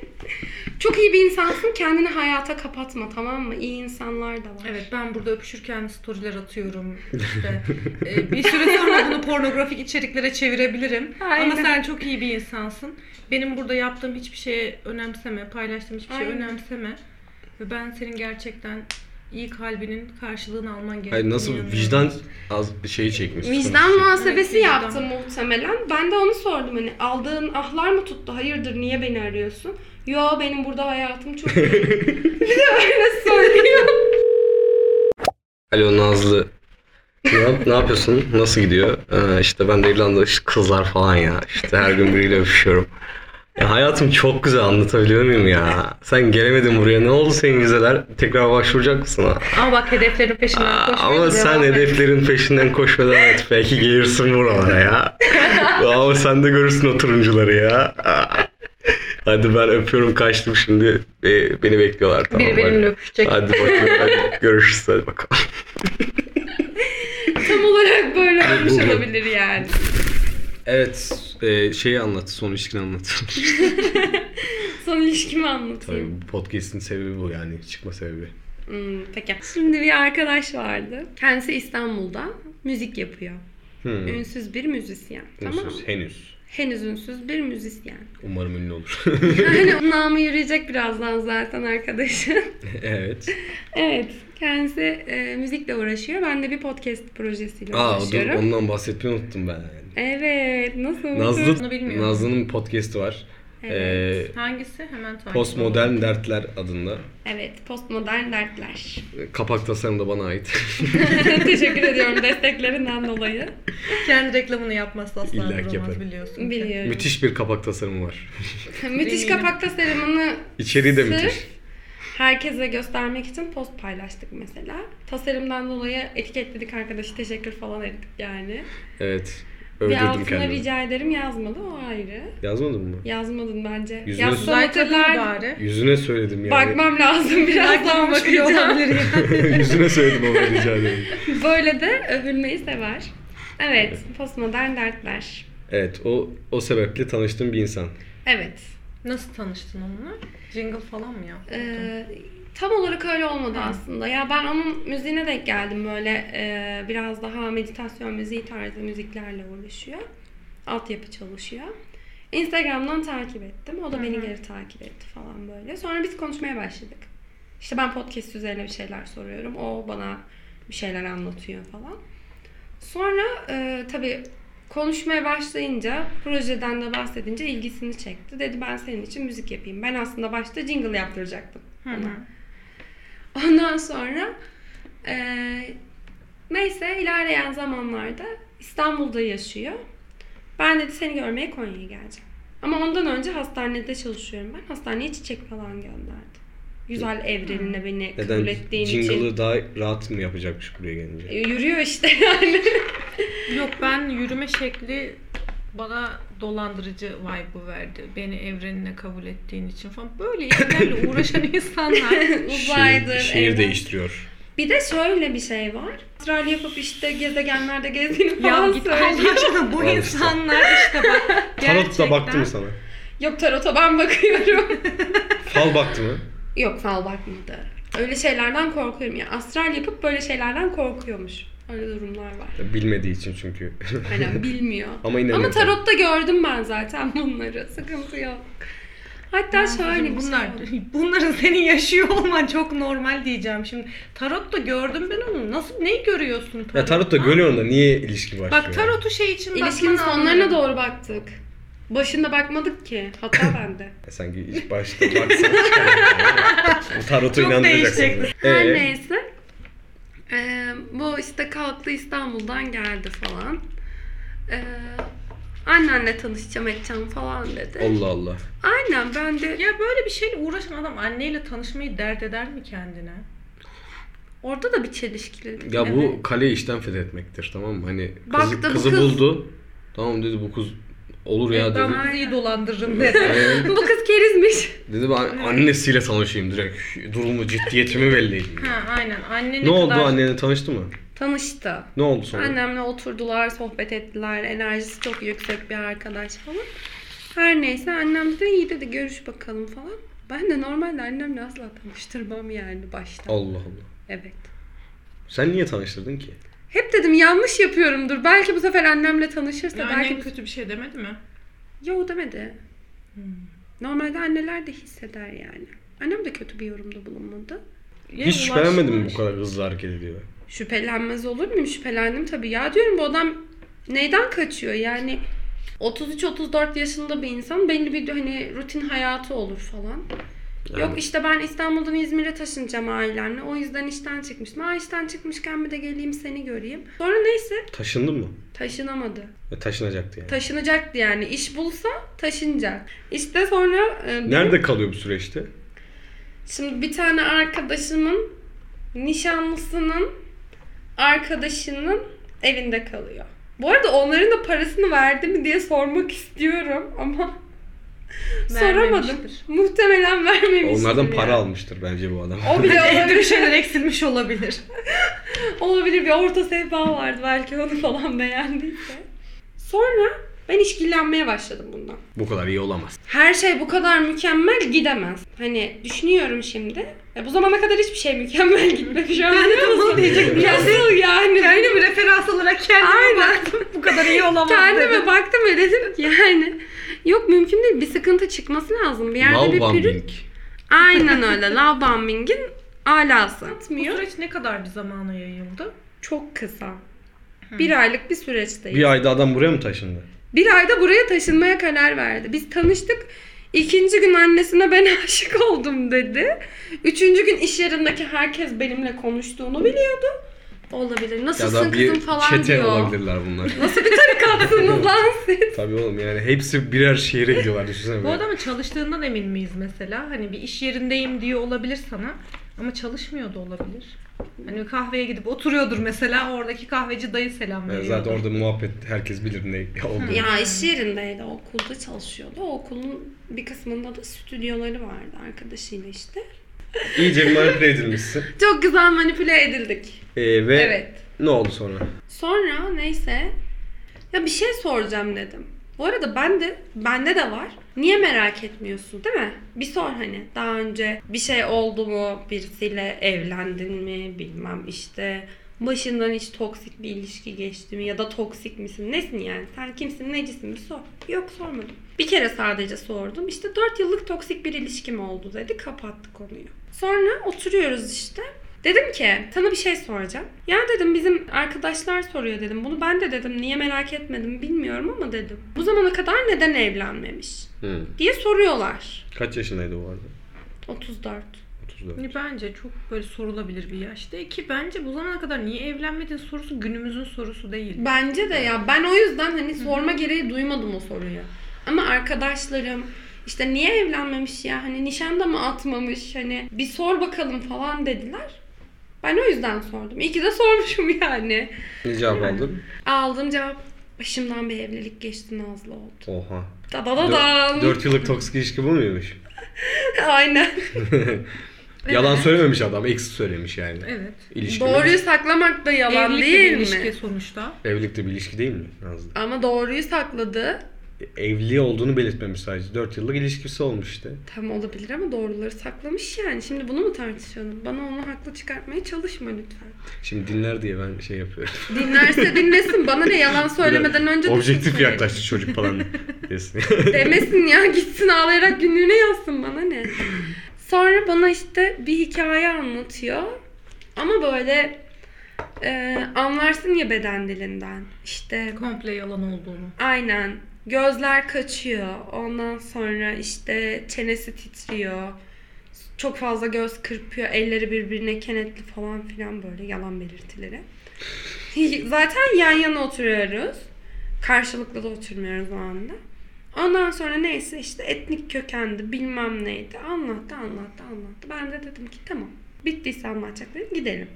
Speaker 6: çok iyi bir insansın kendini hayata kapatma tamam mı? İyi insanlar da var.
Speaker 3: Evet ben burada öpüşürken storyler atıyorum işte. Ee, bir süre sonra bunu pornografik içeriklere çevirebilirim.
Speaker 6: Aynen.
Speaker 3: Ama sen çok iyi bir insansın. Benim burada yaptığım hiçbir şeye önemseme, paylaştığım hiçbir şeye
Speaker 6: Aynen.
Speaker 3: önemseme. Ve ben senin gerçekten iyi kalbinin karşılığını alman gerekiyor.
Speaker 5: Hayır nasıl vicdan az şeyi çekmiş.
Speaker 6: Vicdan muhasebesi
Speaker 3: Evet, vicdan.
Speaker 6: yaptı muhtemelen. Ben de onu sordum hani aldığın ahlar mı tuttu? Hayırdır niye beni arıyorsun? Yo benim burada hayatım çok iyi. bir de öyle söylüyor.
Speaker 5: Alo Nazlı. Ne, yap- ne yapıyorsun? Nasıl gidiyor? Ee, işte ben de İrlanda işte kızlar falan ya. İşte her gün biriyle öpüşüyorum. Ya hayatım çok güzel anlatabiliyor muyum ya? Sen gelemedin buraya. Ne oldu senin vizeler? Tekrar başvuracak mısın ha?
Speaker 3: Ama bak hedeflerin peşinden
Speaker 5: Aa,
Speaker 3: koşmaya
Speaker 5: Ama
Speaker 3: devam
Speaker 5: sen
Speaker 3: et.
Speaker 5: hedeflerin peşinden koş ve devam et. Belki gelirsin buralara ya. Ama sen de görürsün o turuncuları ya. Aa. Hadi ben öpüyorum kaçtım şimdi. Ee, beni bekliyorlar tamam.
Speaker 3: Biri
Speaker 5: hadi.
Speaker 3: benimle öpüşecek.
Speaker 5: Hadi bakalım. Hadi görüşürüz hadi bakalım.
Speaker 6: Tam olarak böyle olmuş olabilir yani.
Speaker 5: Evet e, şeyi anlat. Son ilişkini anlat.
Speaker 6: Son ilişkimi
Speaker 5: Tabii
Speaker 6: anlatayım.
Speaker 5: bu podcast'in sebebi bu yani. Çıkma sebebi.
Speaker 6: Hmm, peki. Şimdi bir arkadaş vardı. Kendisi İstanbul'da müzik yapıyor.
Speaker 5: Hmm.
Speaker 6: Ünsüz bir müzisyen. Tamam mı?
Speaker 5: Ünsüz, henüz.
Speaker 6: Henüz ünsüz bir müzisyen.
Speaker 5: Umarım ünlü olur.
Speaker 6: Yani namı yürüyecek birazdan zaten arkadaşın.
Speaker 5: evet.
Speaker 6: Evet. Kendisi e, müzikle uğraşıyor. Ben de bir podcast projesiyle
Speaker 5: Aa o dur
Speaker 6: uğraşıyorum.
Speaker 5: ondan bahsetmeyi unuttum ben. Yani.
Speaker 6: Evet. Nasıl?
Speaker 3: Bunu
Speaker 5: Nazlı,
Speaker 3: bilmiyorum.
Speaker 5: Nazlı'nın podcast'i var.
Speaker 6: Evet.
Speaker 5: Ee,
Speaker 3: Hangisi? Hemen takip
Speaker 5: Postmodern Dertler adında.
Speaker 6: Evet. Postmodern dertler.
Speaker 5: Kapak tasarımı da bana ait.
Speaker 6: Teşekkür ediyorum desteklerinden dolayı.
Speaker 3: Kendi reklamını yapmazsa asla
Speaker 5: İlla ki
Speaker 3: duramaz
Speaker 5: yaparım.
Speaker 3: biliyorsun. ki.
Speaker 6: Biliyorum. Müthiş,
Speaker 5: müthiş bir kapak tasarımı var.
Speaker 3: Eminim.
Speaker 6: kapak tasarımını
Speaker 5: İçeriği de
Speaker 6: Sırf-
Speaker 5: müthiş.
Speaker 6: herkese göstermek için post paylaştık mesela. Tasarımdan dolayı etiketledik arkadaşı teşekkür falan ettik yani.
Speaker 5: Evet.
Speaker 6: Bir
Speaker 5: Öldürdüm
Speaker 6: altına
Speaker 5: kendimi.
Speaker 6: rica ederim yazmadı o ayrı.
Speaker 5: Yazmadın mı?
Speaker 6: Yazmadın bence.
Speaker 5: Yüzüne-
Speaker 6: Yazsa
Speaker 3: Güzel kadın
Speaker 6: hatırlar.
Speaker 3: bari.
Speaker 5: Yüzüne söyledim yani.
Speaker 6: Bakmam lazım birazdan
Speaker 3: Belki bile
Speaker 6: bakacağım.
Speaker 3: olabilir ya.
Speaker 5: Yüzüne söyledim ama rica ederim.
Speaker 6: Böyle de övülmeyi sever. Evet, postmodern dertler.
Speaker 5: Evet o o sebeple tanıştığım bir insan.
Speaker 6: Evet.
Speaker 3: Nasıl tanıştın onunla? Jingle falan mı yaptın?
Speaker 6: Ee, tam olarak öyle olmadı aslında. Ya ben onun müziğine denk geldim böyle e, biraz daha meditasyon müziği tarzı müziklerle uğraşıyor. Altyapı çalışıyor. Instagram'dan takip ettim. O da beni geri takip etti falan böyle. Sonra biz konuşmaya başladık. İşte ben podcast üzerine bir şeyler soruyorum. O bana bir şeyler anlatıyor falan. Sonra e, tabii konuşmaya başlayınca, projeden de bahsedince ilgisini çekti. Dedi ben senin için müzik yapayım. Ben aslında başta jingle yaptıracaktım ona. Ondan sonra e, neyse ilerleyen zamanlarda İstanbul'da yaşıyor. Ben dedi seni görmeye Konya'ya geleceğim. Ama ondan önce hastanede çalışıyorum ben. Hastaneye çiçek falan gönderdi. Güzel evrenine beni kabul
Speaker 5: Neden
Speaker 6: ettiğin için. E,
Speaker 5: jingle'ı daha rahat mı yapacakmış buraya gelince?
Speaker 6: Yürüyor işte yani.
Speaker 3: Yok ben yürüme şekli bana dolandırıcı vibe'ı verdi. Beni evrenine kabul ettiğin için falan. Böyle işlerle uğraşan insanlar.
Speaker 6: Uzaydır.
Speaker 5: şehir, şehir
Speaker 6: evren.
Speaker 5: değiştiriyor.
Speaker 6: Bir de şöyle bir şey var. Astral yapıp işte gezegenlerde gezdiğini
Speaker 3: ya
Speaker 6: falan
Speaker 3: git Allah
Speaker 6: söylüyor.
Speaker 3: aşkına bu
Speaker 5: Var işte.
Speaker 3: insanlar işte bak.
Speaker 5: Tarot da baktı
Speaker 3: gerçekten-
Speaker 5: mı sana?
Speaker 6: Yok tarota ben bakıyorum.
Speaker 5: Fal baktı mı?
Speaker 6: Yok fal bakmadı. Öyle şeylerden korkuyorum. Ya astral yapıp böyle şeylerden korkuyormuş. Öyle durumlar var.
Speaker 5: Bilmediği için çünkü.
Speaker 6: Aynen bilmiyor.
Speaker 5: Ama inanıyor
Speaker 6: Ama
Speaker 5: tabii.
Speaker 6: tarotta gördüm ben zaten bunları. Sıkıntı yok. Hatta şöyle bir
Speaker 3: bunlar,
Speaker 6: şey oldu.
Speaker 3: bunların senin yaşıyor olman çok normal diyeceğim şimdi. Tarot da gördüm ben onu. Nasıl neyi görüyorsun tarot?
Speaker 5: ya tarot da görüyor da niye ilişki başlıyor?
Speaker 3: Bak tarotu şey için
Speaker 6: İlişkinin
Speaker 3: bakmanı
Speaker 6: sonlarına
Speaker 3: anlarım.
Speaker 6: doğru baktık. Başında bakmadık ki. Hatta bende.
Speaker 5: E Sanki ilk başta baksan çıkar. Bu tarotu
Speaker 3: Çok
Speaker 5: inandıracaksın.
Speaker 3: değişecekti.
Speaker 5: Ee,
Speaker 6: Her neyse. Ee, bu işte kalktı İstanbul'dan geldi falan. Ee, annenle tanışacağım edeceğim falan dedi.
Speaker 5: Allah Allah.
Speaker 6: Aynen ben de
Speaker 3: Ya böyle bir şeyle uğraşan adam anneyle tanışmayı dert eder mi kendine?
Speaker 6: orada da bir çelişkiledik.
Speaker 5: Ya bu
Speaker 3: Evet.
Speaker 5: kaleyi işten fethetmektir tamam mı? Hani kızı,
Speaker 6: Baktı bu
Speaker 5: kızı
Speaker 6: kız- E,
Speaker 5: buldu. Tamam dedi bu kız olur ya dedi.
Speaker 3: Ben iyi dolandırırım dedi.
Speaker 5: Ee,
Speaker 6: bu kız kerizmiş.
Speaker 5: dedi ben annesiyle tanışayım direkt. Durumu ciddiyetimi belli edeyim.
Speaker 3: ha aynen. Anne ne,
Speaker 5: Ne oldu
Speaker 3: kadar...
Speaker 5: annene tanıştı mı?
Speaker 6: Tanıştı.
Speaker 5: Ne oldu sonra?
Speaker 6: Annemle oturdular, sohbet ettiler. Enerjisi çok yüksek bir arkadaş falan. Her neyse annem dedi iyi dedi görüş bakalım falan. Ben de normalde annemle asla tanıştırmam yani başta.
Speaker 5: Allah Allah.
Speaker 6: Evet.
Speaker 5: Sen niye tanıştırdın ki?
Speaker 6: Hep dedim yanlış yapıyorumdur. Belki bu sefer annemle tanışırsa
Speaker 3: Ya
Speaker 6: belki
Speaker 3: annen kötü bir şey demedi mi?
Speaker 6: Yo demedi. Normalde anneler de hisseder yani. Annem de kötü bir yorumda bulunmadı.
Speaker 3: Ya
Speaker 5: Hiç şüphelenmedin mi bu
Speaker 3: ulaştılar.
Speaker 5: kadar hızlı hareket ediyor?
Speaker 6: Şüphelenmez olur muyum? Şüphelendim tabii. Ya diyorum bu adam neyden kaçıyor? Yani 33-34 yaşında bir insan belli bir hani rutin hayatı olur falan. Yok işte ben İstanbul'dan İzmir'e taşınacağım ailemle. O yüzden işten çıkmıştım. Aa işten çıkmışken bir de geleyim seni göreyim. Sonra neyse
Speaker 5: Taşındın mı?
Speaker 6: taşınamadı.
Speaker 5: E, taşınacaktı yani.
Speaker 6: Taşınacaktı yani. İş bulsa taşınacak. İşte sonra... e, benim-
Speaker 5: Nerede kalıyor bu süreçte?
Speaker 6: Şimdi bir tane arkadaşımın nişanlısının arkadaşının evinde kalıyor. Bu arada onların da parasını verdi mi diye sormak istiyorum ama soramadım.
Speaker 3: Vermemiştir.
Speaker 6: Muhtemelen vermemiştir.
Speaker 5: Onlardan
Speaker 6: yani.
Speaker 5: para almıştır bence bu adam.
Speaker 6: O bile
Speaker 3: Evde
Speaker 6: olabilir.
Speaker 3: bir şey- şeyler eksilmiş olabilir.
Speaker 6: olabilir bir orta sehpa vardı belki onu falan beğendiyse. Sonra ben işkillenmeye başladım bundan.
Speaker 5: bu kadar iyi olamaz.
Speaker 6: her şey bu kadar mükemmel gidemez. Hani düşünüyorum şimdi. E, bu zamana kadar hiçbir şey mükemmel gitmemiş. Ben de bunu diyecektim. Nasıl yani?
Speaker 3: Kendimi bir referans olarak kendime baktım. Bu kadar iyi olamam dedim.
Speaker 6: Kendime baktım ve dedim ki yani yok mümkün değil. Bir sıkıntı çıkması lazım. Bir yerde bir
Speaker 5: Love
Speaker 6: pürüz.
Speaker 5: bombing.
Speaker 6: Aynen öyle. Love bombing'in alası.
Speaker 3: Bu süreç ne kadar bir zamana yayıldı?
Speaker 6: Çok kısa. Bir aylık bir süreçteyiz.
Speaker 5: Bir ayda adam buraya mı taşındı?
Speaker 6: Bir ayda buraya taşınmaya karar verdi. Biz tanıştık. İkinci gün annesine ben aşık oldum dedi. Üçüncü gün iş yerindeki herkes benimle konuştuğunu biliyordu. Olabilir.
Speaker 5: Ya
Speaker 6: Nasılsın
Speaker 5: da bir
Speaker 6: kızım falan
Speaker 5: çete
Speaker 6: diyor.
Speaker 5: olabilirler bunlar.
Speaker 6: Nasıl bir tarikatsınız lan siz?
Speaker 5: Tabii oğlum yani hepsi birer şehire gidiyorlar düşünsene.
Speaker 3: Bu
Speaker 5: böyle.
Speaker 3: adamın çalıştığından emin miyiz mesela? Hani bir iş yerindeyim diyor olabilir sana ama çalışmıyor da olabilir. Hani bir kahveye gidip oturuyordur mesela oradaki kahveci dayı selam
Speaker 5: Yani
Speaker 3: veriyor.
Speaker 5: E, zaten orada muhabbet herkes bilir ne olduğunu.
Speaker 6: Ya iş yerindeydi, okulda çalışıyordu. O okulun bir kısmında da stüdyoları vardı arkadaşıyla işte.
Speaker 5: İyice manipüle edilmişsin.
Speaker 6: Çok güzel manipüle edildik.
Speaker 5: Ee, ve
Speaker 6: Evet.
Speaker 5: ne oldu sonra?
Speaker 6: Sonra neyse ya bir şey soracağım dedim. Bu arada ben de bende de var. Niye merak etmiyorsun değil mi? Bir sor hani daha önce bir şey oldu mu? Birisiyle evlendin mi? Bilmem işte başından hiç toksik bir ilişki geçti mi ya da toksik misin? Nesin yani? Sen kimsin? Necisin? Bir sor. Yok sormadım. Bir kere sadece sordum. İşte 4 yıllık toksik bir ilişkim oldu dedi. Kapattı konuyu. Sonra oturuyoruz işte. Dedim ki sana bir şey soracağım. Ya dedim bizim arkadaşlar soruyor dedim. Bunu ben de dedim niye merak etmedim bilmiyorum ama dedim. Bu zamana kadar neden evlenmemiş
Speaker 5: Hı.
Speaker 6: diye soruyorlar.
Speaker 5: Kaç yaşındaydı bu arada?
Speaker 6: 34.
Speaker 3: Yani
Speaker 5: 34.
Speaker 3: Hani Bence çok böyle sorulabilir bir yaşta ki bence bu zamana kadar niye evlenmedin sorusu günümüzün sorusu değil.
Speaker 6: Bence de ya ben o yüzden hani sorma gereği duymadım o soruyu. Ama arkadaşlarım işte niye evlenmemiş ya hani nişanda mı atmamış hani bir sor bakalım falan dediler. Ben o yüzden sordum. İyi ki de sormuşum yani.
Speaker 5: Ne cevap aldın?
Speaker 6: Aldığım cevap başımdan bir evlilik geçti Nazlı oldu.
Speaker 5: Oha.
Speaker 6: Da da da da.
Speaker 5: 4 yıllık toksik ilişki bu muymuş?
Speaker 6: Aynen.
Speaker 5: Yalan söylememiş adam. Eksi söylemiş yani.
Speaker 3: Evet.
Speaker 5: İlişki
Speaker 6: Doğruyu saklamak da yalan
Speaker 3: Evlilik de
Speaker 6: değil
Speaker 3: bir
Speaker 6: mi?
Speaker 3: ilişki sonuçta.
Speaker 5: Evlilik de bir ilişki değil mi Nazlı?
Speaker 6: Ama doğruyu sakladı.
Speaker 5: Evli olduğunu belirtmemiş sadece. 4 yıllık ilişkisi olmuş işte.
Speaker 6: Tam olabilir ama doğruları saklamış yani. Şimdi bunu mu tartışalım? Bana onu haklı çıkartmaya çalışma lütfen.
Speaker 5: Şimdi dinler diye ben şey yapıyorum.
Speaker 6: Dinlerse dinlesin. Bana ne yalan söylemeden önce
Speaker 5: Objektif
Speaker 6: düşünsün.
Speaker 5: yaklaştı çocuk falan desin.
Speaker 6: Demesin ya gitsin ağlayarak günlüğüne yazsın bana ne. Sonra bana işte bir hikaye anlatıyor. Ama böyle e, anlarsın ya beden dilinden. İşte
Speaker 3: Komple yalan olduğunu.
Speaker 6: Aynen. Gözler kaçıyor. Ondan sonra işte çenesi titriyor. Çok fazla göz kırpıyor. Elleri birbirine kenetli falan filan böyle yalan belirtileri. Zaten yan yana oturuyoruz. Karşılıklı da oturmuyoruz o anda. Ondan sonra neyse işte etnik kökendi bilmem neydi. Anlattı anlattı anlattı. Ben de dedim ki tamam. Bittiyse anlatacaklarım gidelim.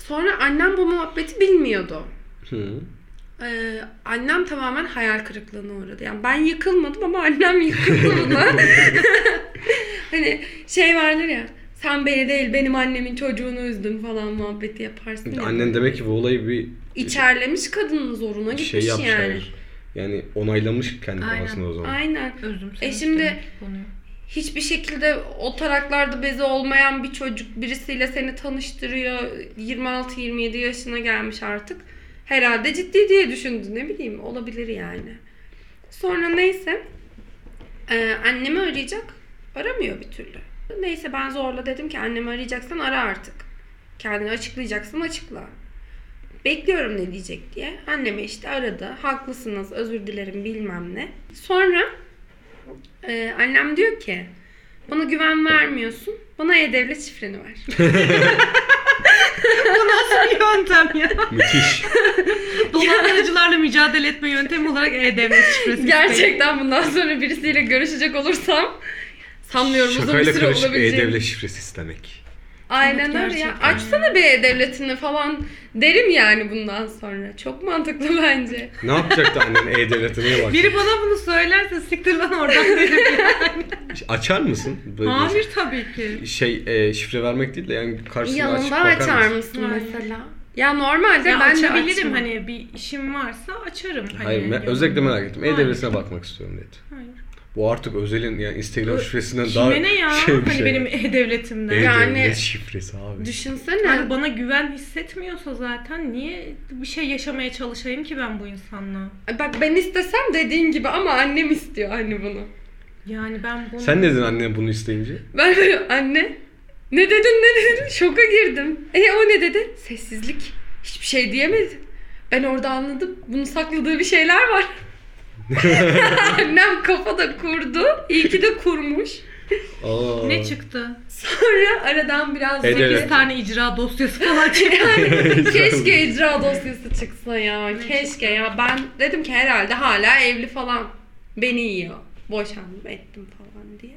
Speaker 6: Sonra annem bu muhabbeti bilmiyordu.
Speaker 5: Hı.
Speaker 6: Ee, annem tamamen hayal kırıklığına uğradı. Yani ben yıkılmadım ama annem yıkıldı buna. hani şey vardır ya sen beni değil benim annemin çocuğunu üzdün falan muhabbeti yaparsın. ya.
Speaker 5: Annen demek ki bu olayı bir
Speaker 6: İçerlemiş kadının zoruna gitmiş
Speaker 5: şey yapmış
Speaker 6: yani.
Speaker 5: hayır. Yani onaylamış kendi
Speaker 3: Aynen.
Speaker 5: kafasında o zaman.
Speaker 6: Aynen.
Speaker 3: Özüm
Speaker 6: E şimdi-
Speaker 3: konuyu.
Speaker 6: Hiçbir şekilde o taraklarda bezi olmayan bir çocuk birisiyle seni tanıştırıyor. 26-27 yaşına gelmiş artık. Herhalde ciddi diye düşündü ne bileyim olabilir yani. Sonra neyse e, annemi arayacak. Aramıyor bir türlü. Neyse ben zorla dedim ki annemi arayacaksan ara artık. Kendini açıklayacaksın açıkla. Bekliyorum ne diyecek diye. Anneme işte aradı. Haklısınız özür dilerim bilmem ne. Sonra ee, annem diyor ki bana güven vermiyorsun. Bana e-devlet şifreni ver.
Speaker 3: Bir yöntem ya.
Speaker 5: Müthiş.
Speaker 3: Dolandırıcılarla mücadele etme yöntemi olarak E E-Devlet şifresi.
Speaker 6: Gerçekten bundan sonra birisiyle görüşecek olursam sanmıyorum uzun bir
Speaker 5: Şakayla
Speaker 6: süre
Speaker 5: karışık
Speaker 6: olabileceğini.
Speaker 5: e-devlet şifresi istemek.
Speaker 6: Aynen
Speaker 3: Evet,
Speaker 6: öyle ya.
Speaker 3: gerçekten.
Speaker 6: Açsana bir e-devletini falan derim yani bundan sonra. Çok mantıklı bence.
Speaker 5: Ne yapacaktı annen e-devletine bak.
Speaker 3: Biri bana bunu söylerse siktir lan oradan derim. ya.
Speaker 5: Açar mısın? Böyle
Speaker 3: Hayır tabii ki.
Speaker 5: Şey e, şifre vermek değil de yani karşısına açıp
Speaker 6: Yanında
Speaker 5: bakar
Speaker 6: açar
Speaker 5: mısın?
Speaker 6: mısın
Speaker 3: Aynen.
Speaker 6: mesela? Ya normalde
Speaker 3: Ya
Speaker 6: ben de
Speaker 3: açabilirim
Speaker 6: açmam.
Speaker 3: hani bir işim varsa açarım. Hani
Speaker 5: Hayır, me-
Speaker 3: yanımda.
Speaker 5: özellikle merak ettim.
Speaker 3: Hayır.
Speaker 5: E-devletine bakmak istiyorum dedi.
Speaker 3: Hayır.
Speaker 5: Bu artık özelin yani Instagram şifresinden
Speaker 3: Kime
Speaker 5: daha
Speaker 3: ne ya?
Speaker 5: şey bir
Speaker 3: hani
Speaker 5: şey.
Speaker 3: benim E-Devletimden.
Speaker 5: E-devlet
Speaker 6: Yani-
Speaker 5: şifresi abi.
Speaker 6: Düşünsene.
Speaker 3: Yani bana güven hissetmiyorsa zaten niye bir şey yaşamaya çalışayım ki ben bu insanla?
Speaker 6: Bak ben istesem dediğin gibi ama annem istiyor hani bunu.
Speaker 3: Yani ben bunu...
Speaker 5: Sen ne dedin annene bunu isteyince?
Speaker 6: Ben böyle anne ne dedin ne dedin şoka girdim. E o ne dedi? Sessizlik. Hiçbir şey diyemedi. Ben orada anladım. Bunun sakladığı bir şeyler var. Annem kafada kurdu. İyi ki de kurmuş.
Speaker 5: Aa.
Speaker 3: Ne çıktı?
Speaker 6: Sonra aradan biraz
Speaker 5: E-Devlet.
Speaker 3: Sekiz
Speaker 5: Evet.
Speaker 3: tane icra dosyası falan çıktı.
Speaker 6: Keşke icra dosyası çıksa ya. Keşke ya. Ben dedim ki herhalde hala evli falan. Beni yiyor. Boşandım ettim falan diye.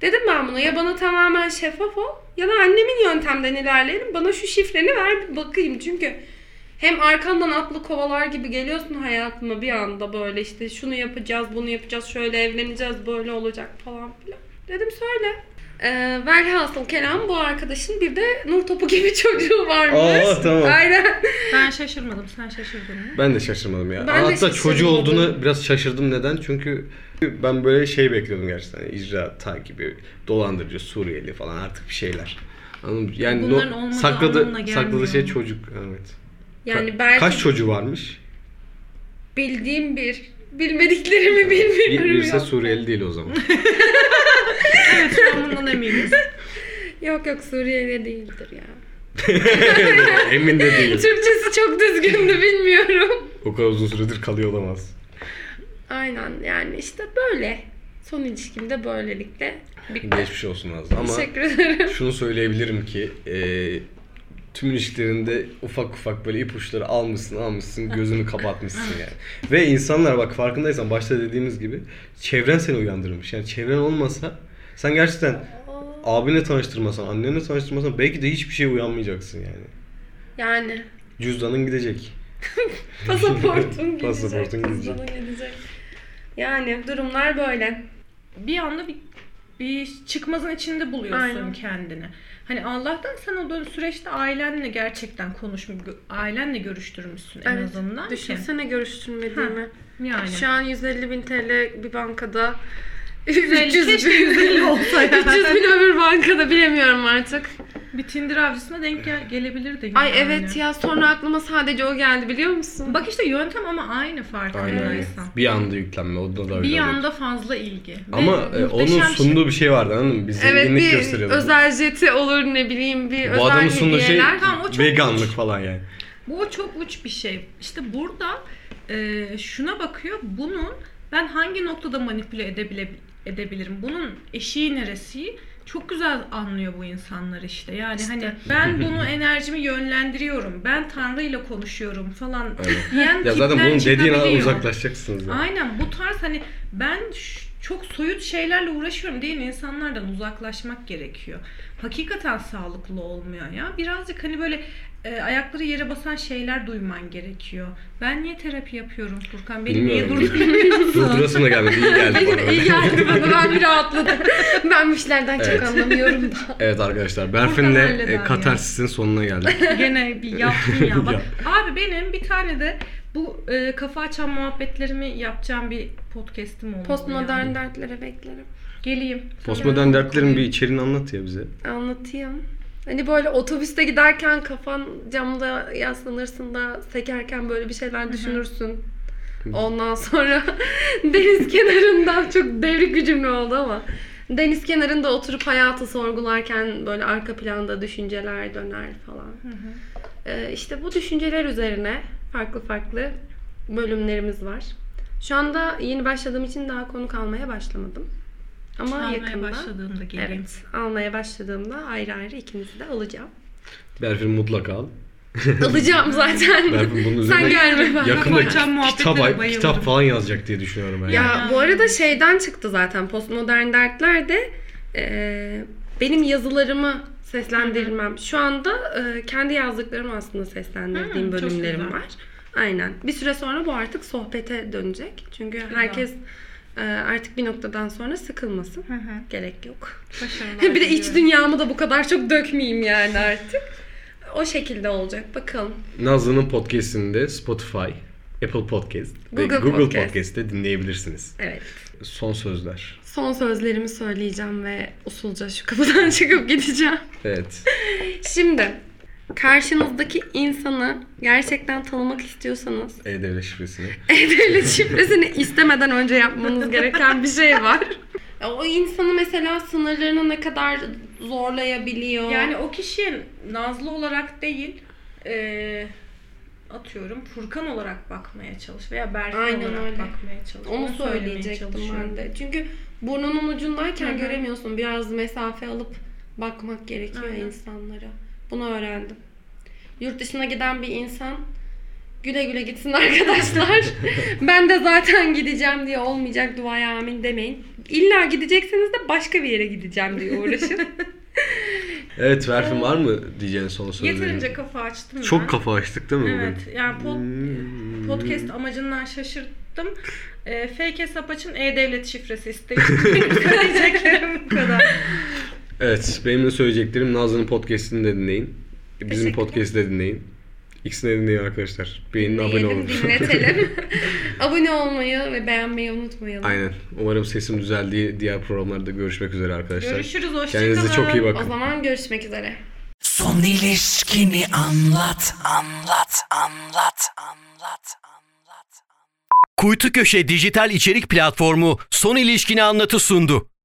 Speaker 6: Dedim ben buna ya bana tamamen şeffaf ol ya da annemin yöntemden ilerleyelim. Bana şu şifreni ver bir bakayım. Çünkü hem arkandan atlı kovalar gibi geliyorsun hayatıma bir anda böyle işte şunu yapacağız, bunu yapacağız, şöyle evleneceğiz, böyle olacak falan filan. Dedim söyle. Ee, velhasıl kelam bu arkadaşın bir de nur topu gibi çocuğu varmış.
Speaker 5: Aa, tamam.
Speaker 6: Aynen.
Speaker 3: ben şaşırmadım. Sen şaşırdın mı?
Speaker 5: Ben de şaşırmadım ya.
Speaker 6: Ben de
Speaker 5: Hatta
Speaker 6: şaşırmadım.
Speaker 5: çocuğu olduğunu biraz şaşırdım neden? Çünkü ben böyle şey bekliyordum gerçekten. Yani icra takibi, dolandırıcı, Suriyeli falan artık bir şeyler. Anladın mı? Yani
Speaker 3: Bunların olmadığı anlamına
Speaker 5: sakladı
Speaker 3: gelmiyor
Speaker 5: sakladığı şey
Speaker 3: ama.
Speaker 5: çocuk. Evet.
Speaker 6: Yani belki
Speaker 5: Kaç çocuğu varmış?
Speaker 6: bildiğim bir, bilmediklerimi bilmiyorum
Speaker 5: Bir, birisi
Speaker 6: ya.
Speaker 5: Suriyeli değil o zaman.
Speaker 3: Evet şu an bundan eminiz.
Speaker 6: Yok yok Suriyeli değildir ya.
Speaker 5: Emin de değil.
Speaker 6: Türkçesi çok düzgündü bilmiyorum.
Speaker 5: O kadar uzun süredir kalıyor olamaz.
Speaker 6: Aynen yani işte böyle. Son ilişkim de böylelikle bitti.
Speaker 5: Geçmiş olsun Nazlı. Ama
Speaker 6: Teşekkür ederim.
Speaker 5: şunu söyleyebilirim ki e, tüm ilişkilerinde ufak ufak böyle ipuçları almışsın almışsın gözünü kapatmışsın yani. Ve insanlar bak farkındaysan başta dediğimiz gibi çevren seni uyandırmış. Yani çevren olmasa sen gerçekten abine tanıştırmasan, annenle tanıştırmasan belki de hiçbir şeye uyanmayacaksın yani.
Speaker 6: Yani
Speaker 5: Cüzdanın gidecek.
Speaker 6: pasaportun gidecek.
Speaker 5: Pasaportun gidecek.
Speaker 6: cüzdanın gidecek. Yani durumlar böyle.
Speaker 3: bir anda bir, bir çıkmazın içinde buluyorsun
Speaker 6: Aynen.
Speaker 3: kendini. Hani Allah'tan sen o dön- süreçte ailenle gerçekten konuşmuş, ailenle görüştürmüşsün en azından. ki.
Speaker 6: Düşünsene görüştürmediğimi.
Speaker 3: Yani.
Speaker 6: Şu an 150 bin TL bir bankada.
Speaker 3: 150,
Speaker 6: 300
Speaker 3: keşke
Speaker 6: bin.
Speaker 3: 150 olsaydı.
Speaker 6: 300 bin öbür bankada bilemiyorum artık.
Speaker 3: Bir Tinder avcısına denk gel- gelebilirdi.
Speaker 6: Ay
Speaker 3: yani.
Speaker 6: evet ya sonra aklıma sadece o geldi biliyor musun?
Speaker 3: Bak işte yöntem ama aynı farkındaysan.
Speaker 5: Bir anda yüklenme. O da öyle
Speaker 3: Bir
Speaker 5: oluyor.
Speaker 3: anda fazla ilgi. Ve
Speaker 5: ama e, onun
Speaker 3: muhteşem
Speaker 5: sunduğu bir şey vardı anladın mı? Bir zenginlik
Speaker 6: Evet bir
Speaker 5: gösteriyordu.
Speaker 6: özel jeti olur ne bileyim bir
Speaker 5: Bu
Speaker 6: özel
Speaker 5: adamın sunduğu şey
Speaker 6: hediyeler.
Speaker 3: Tamam, o çok
Speaker 5: veganlık falan yani.
Speaker 3: Bu çok uç bir şey. İşte burada e, şuna bakıyor. Bunun ben hangi noktada manipüle edebile, edebilirim? Bunun eşiği neresi? Çok güzel anlıyor bu insanlar işte. Yani
Speaker 6: İşte.
Speaker 3: hani ben bunu enerjimi yönlendiriyorum. Ben Tanrı'yla konuşuyorum falan
Speaker 5: Aynen.
Speaker 3: diyen
Speaker 5: Ya zaten
Speaker 3: tipler
Speaker 5: bunun dediğin an
Speaker 3: çıkabiliyor.
Speaker 5: uzaklaşacaksınız yani.
Speaker 3: Aynen bu tarz hani ben ş- çok soyut şeylerle uğraşıyorum diyen insanlardan uzaklaşmak gerekiyor. Hakikaten sağlıklı olmuyor ya. Birazcık hani böyle e, ayakları yere basan şeyler duyman gerekiyor. Ben niye terapi yapıyorum Furkan? Beni niye
Speaker 5: Bilmiyorum.
Speaker 3: durduruyorsun?
Speaker 5: Durdurasım da gelmedi. iyi geldi
Speaker 6: Benim
Speaker 5: bana.
Speaker 6: de iyi geldi bana. Ben bir rahatladım. Ben bu işlerden
Speaker 5: Evet.
Speaker 6: çok anlamıyorum da.
Speaker 5: Evet arkadaşlar.
Speaker 3: Furkan
Speaker 5: Berfin'le
Speaker 3: halleder
Speaker 5: e,
Speaker 3: ya.
Speaker 5: Katarsis'in sonuna geldik.
Speaker 3: Gene bir yaptın ya. Bak,
Speaker 5: Yap.
Speaker 3: abi benim bir tane de bu e, kafa açan muhabbetlerimi yapacağım bir podcast'im oldu.
Speaker 6: Postmodern dertlere beklerim.
Speaker 3: Geleyim.
Speaker 5: Postmodern dertlerin bir içeriğini anlat ya bize.
Speaker 6: Anlatayım. Hani böyle otobüste giderken kafan camda yaslanırsın da sekerken böyle bir şeyler düşünürsün. Ondan sonra deniz kenarından çok devrik bir cümle oldu ama deniz kenarında oturup hayatı sorgularken böyle arka planda düşünceler döner falan. Ee, işte bu düşünceler üzerine farklı farklı bölümlerimiz var. Şu anda yeni başladığım için daha konuk almaya başlamadım. Ama
Speaker 3: Almaya
Speaker 6: yakında.
Speaker 3: başladığımda geleyim.
Speaker 6: Evet. Almaya başladığımda ayrı ayrı ikinizi de alacağım.
Speaker 5: Berfin mutlaka al.
Speaker 6: alacağım zaten.
Speaker 5: Berfin bunun
Speaker 6: Sen
Speaker 5: üzerine
Speaker 6: gelme ben.
Speaker 5: yakında
Speaker 3: Kapatacağım
Speaker 5: ki- kitap,
Speaker 3: muhabbetlere bayılırım.
Speaker 5: kitap falan yazacak diye düşünüyorum ben.
Speaker 6: Ya bu arada şeyden çıktı zaten postmodern dertler de e, benim yazılarımı seslendirmem. Şu anda e, kendi yazdıklarımı aslında
Speaker 3: Hı, çok
Speaker 6: seslendirdiğim bölümlerim
Speaker 3: güzel.
Speaker 6: var. Aynen. Bir süre sonra bu artık sohbete dönecek. Çünkü
Speaker 3: Güzel.
Speaker 6: herkes e, artık bir noktadan sonra sıkılmasın.
Speaker 3: Hı hı.
Speaker 6: Gerek yok.
Speaker 3: Başarılar
Speaker 6: bir de iç
Speaker 3: diliyorum.
Speaker 6: dünyamı da bu kadar çok dökmeyeyim yani artık. O şekilde olacak. Bakalım.
Speaker 5: Nazlı'nın podcastinde Spotify, Apple Podcast
Speaker 6: Google
Speaker 5: ve Google
Speaker 6: Podcast.
Speaker 5: Podcast'te dinleyebilirsiniz.
Speaker 6: Evet.
Speaker 5: Son sözler.
Speaker 6: Son sözlerimi söyleyeceğim ve usulca şu kapıdan çıkıp gideceğim.
Speaker 5: Evet.
Speaker 6: Şimdi karşınızdaki insanı gerçekten tanımak istiyorsanız
Speaker 5: E-Devlet şifresini.
Speaker 6: E-Devlet şifresini istemeden önce yapmanız gereken bir şey var. O insanı mesela sınırlarını ne kadar zorlayabiliyor.
Speaker 3: Yani o kişiye Nazlı olarak değil, eee, atıyorum Furkan olarak bakmaya çalış veya Berfin
Speaker 6: Aynen
Speaker 3: olarak
Speaker 6: öyle.
Speaker 3: bakmaya çalış.
Speaker 6: Onu
Speaker 3: söylemeye
Speaker 6: söyleyecektim
Speaker 3: çalışıyorum.
Speaker 6: ben de. Çünkü burnunun ucundayken
Speaker 3: Hı hı.
Speaker 6: göremiyorsun. Biraz mesafe alıp bakmak gerekiyor
Speaker 3: Aynen.
Speaker 6: insanlara. Bunu öğrendim. Yurt dışına giden bir insan güle güle gitsin arkadaşlar. ben de zaten gideceğim diye olmayacak duaya amin demeyin. İlla gidecekseniz de başka bir yere gideceğim diye uğraşın.
Speaker 5: Evet Berfin var mı diyeceğin son sözleri?
Speaker 3: Ee, Yeterince kafa açtım ben.
Speaker 5: Çok kafa Hmm. açtık değil mi
Speaker 3: Evet. Yani pod,
Speaker 5: bugün?
Speaker 3: podcast amacından şaşırdım. Eee fake hesap açın e-devlet şifresi isteyin. Söyleyeceklerim bu kadar.
Speaker 5: Evet, benim de söyleyeceklerim Nazlı'nın podcast'ini de dinleyin. Bizim
Speaker 6: Teşekkürler.
Speaker 5: podcast'i de dinleyin. İkisini de dinleyin arkadaşlar. Beğenin abone
Speaker 6: Diyelim,
Speaker 5: olun.
Speaker 6: dinletelim. abone olmayı ve beğenmeyi unutmayalım.
Speaker 5: Aynen. Umarım sesim düzeldiği diğer programlarda görüşmek üzere arkadaşlar.
Speaker 3: Görüşürüz. Hoşçakalın.
Speaker 5: Kendinize çok iyi
Speaker 6: O
Speaker 5: bakın.
Speaker 6: zaman görüşmek üzere.
Speaker 4: Son ilişkini anlat, anlat, anlat, anlat, anlat.
Speaker 1: Kuytu Köşe dijital içerik platformu Son İlişkini Anlat'ı sundu.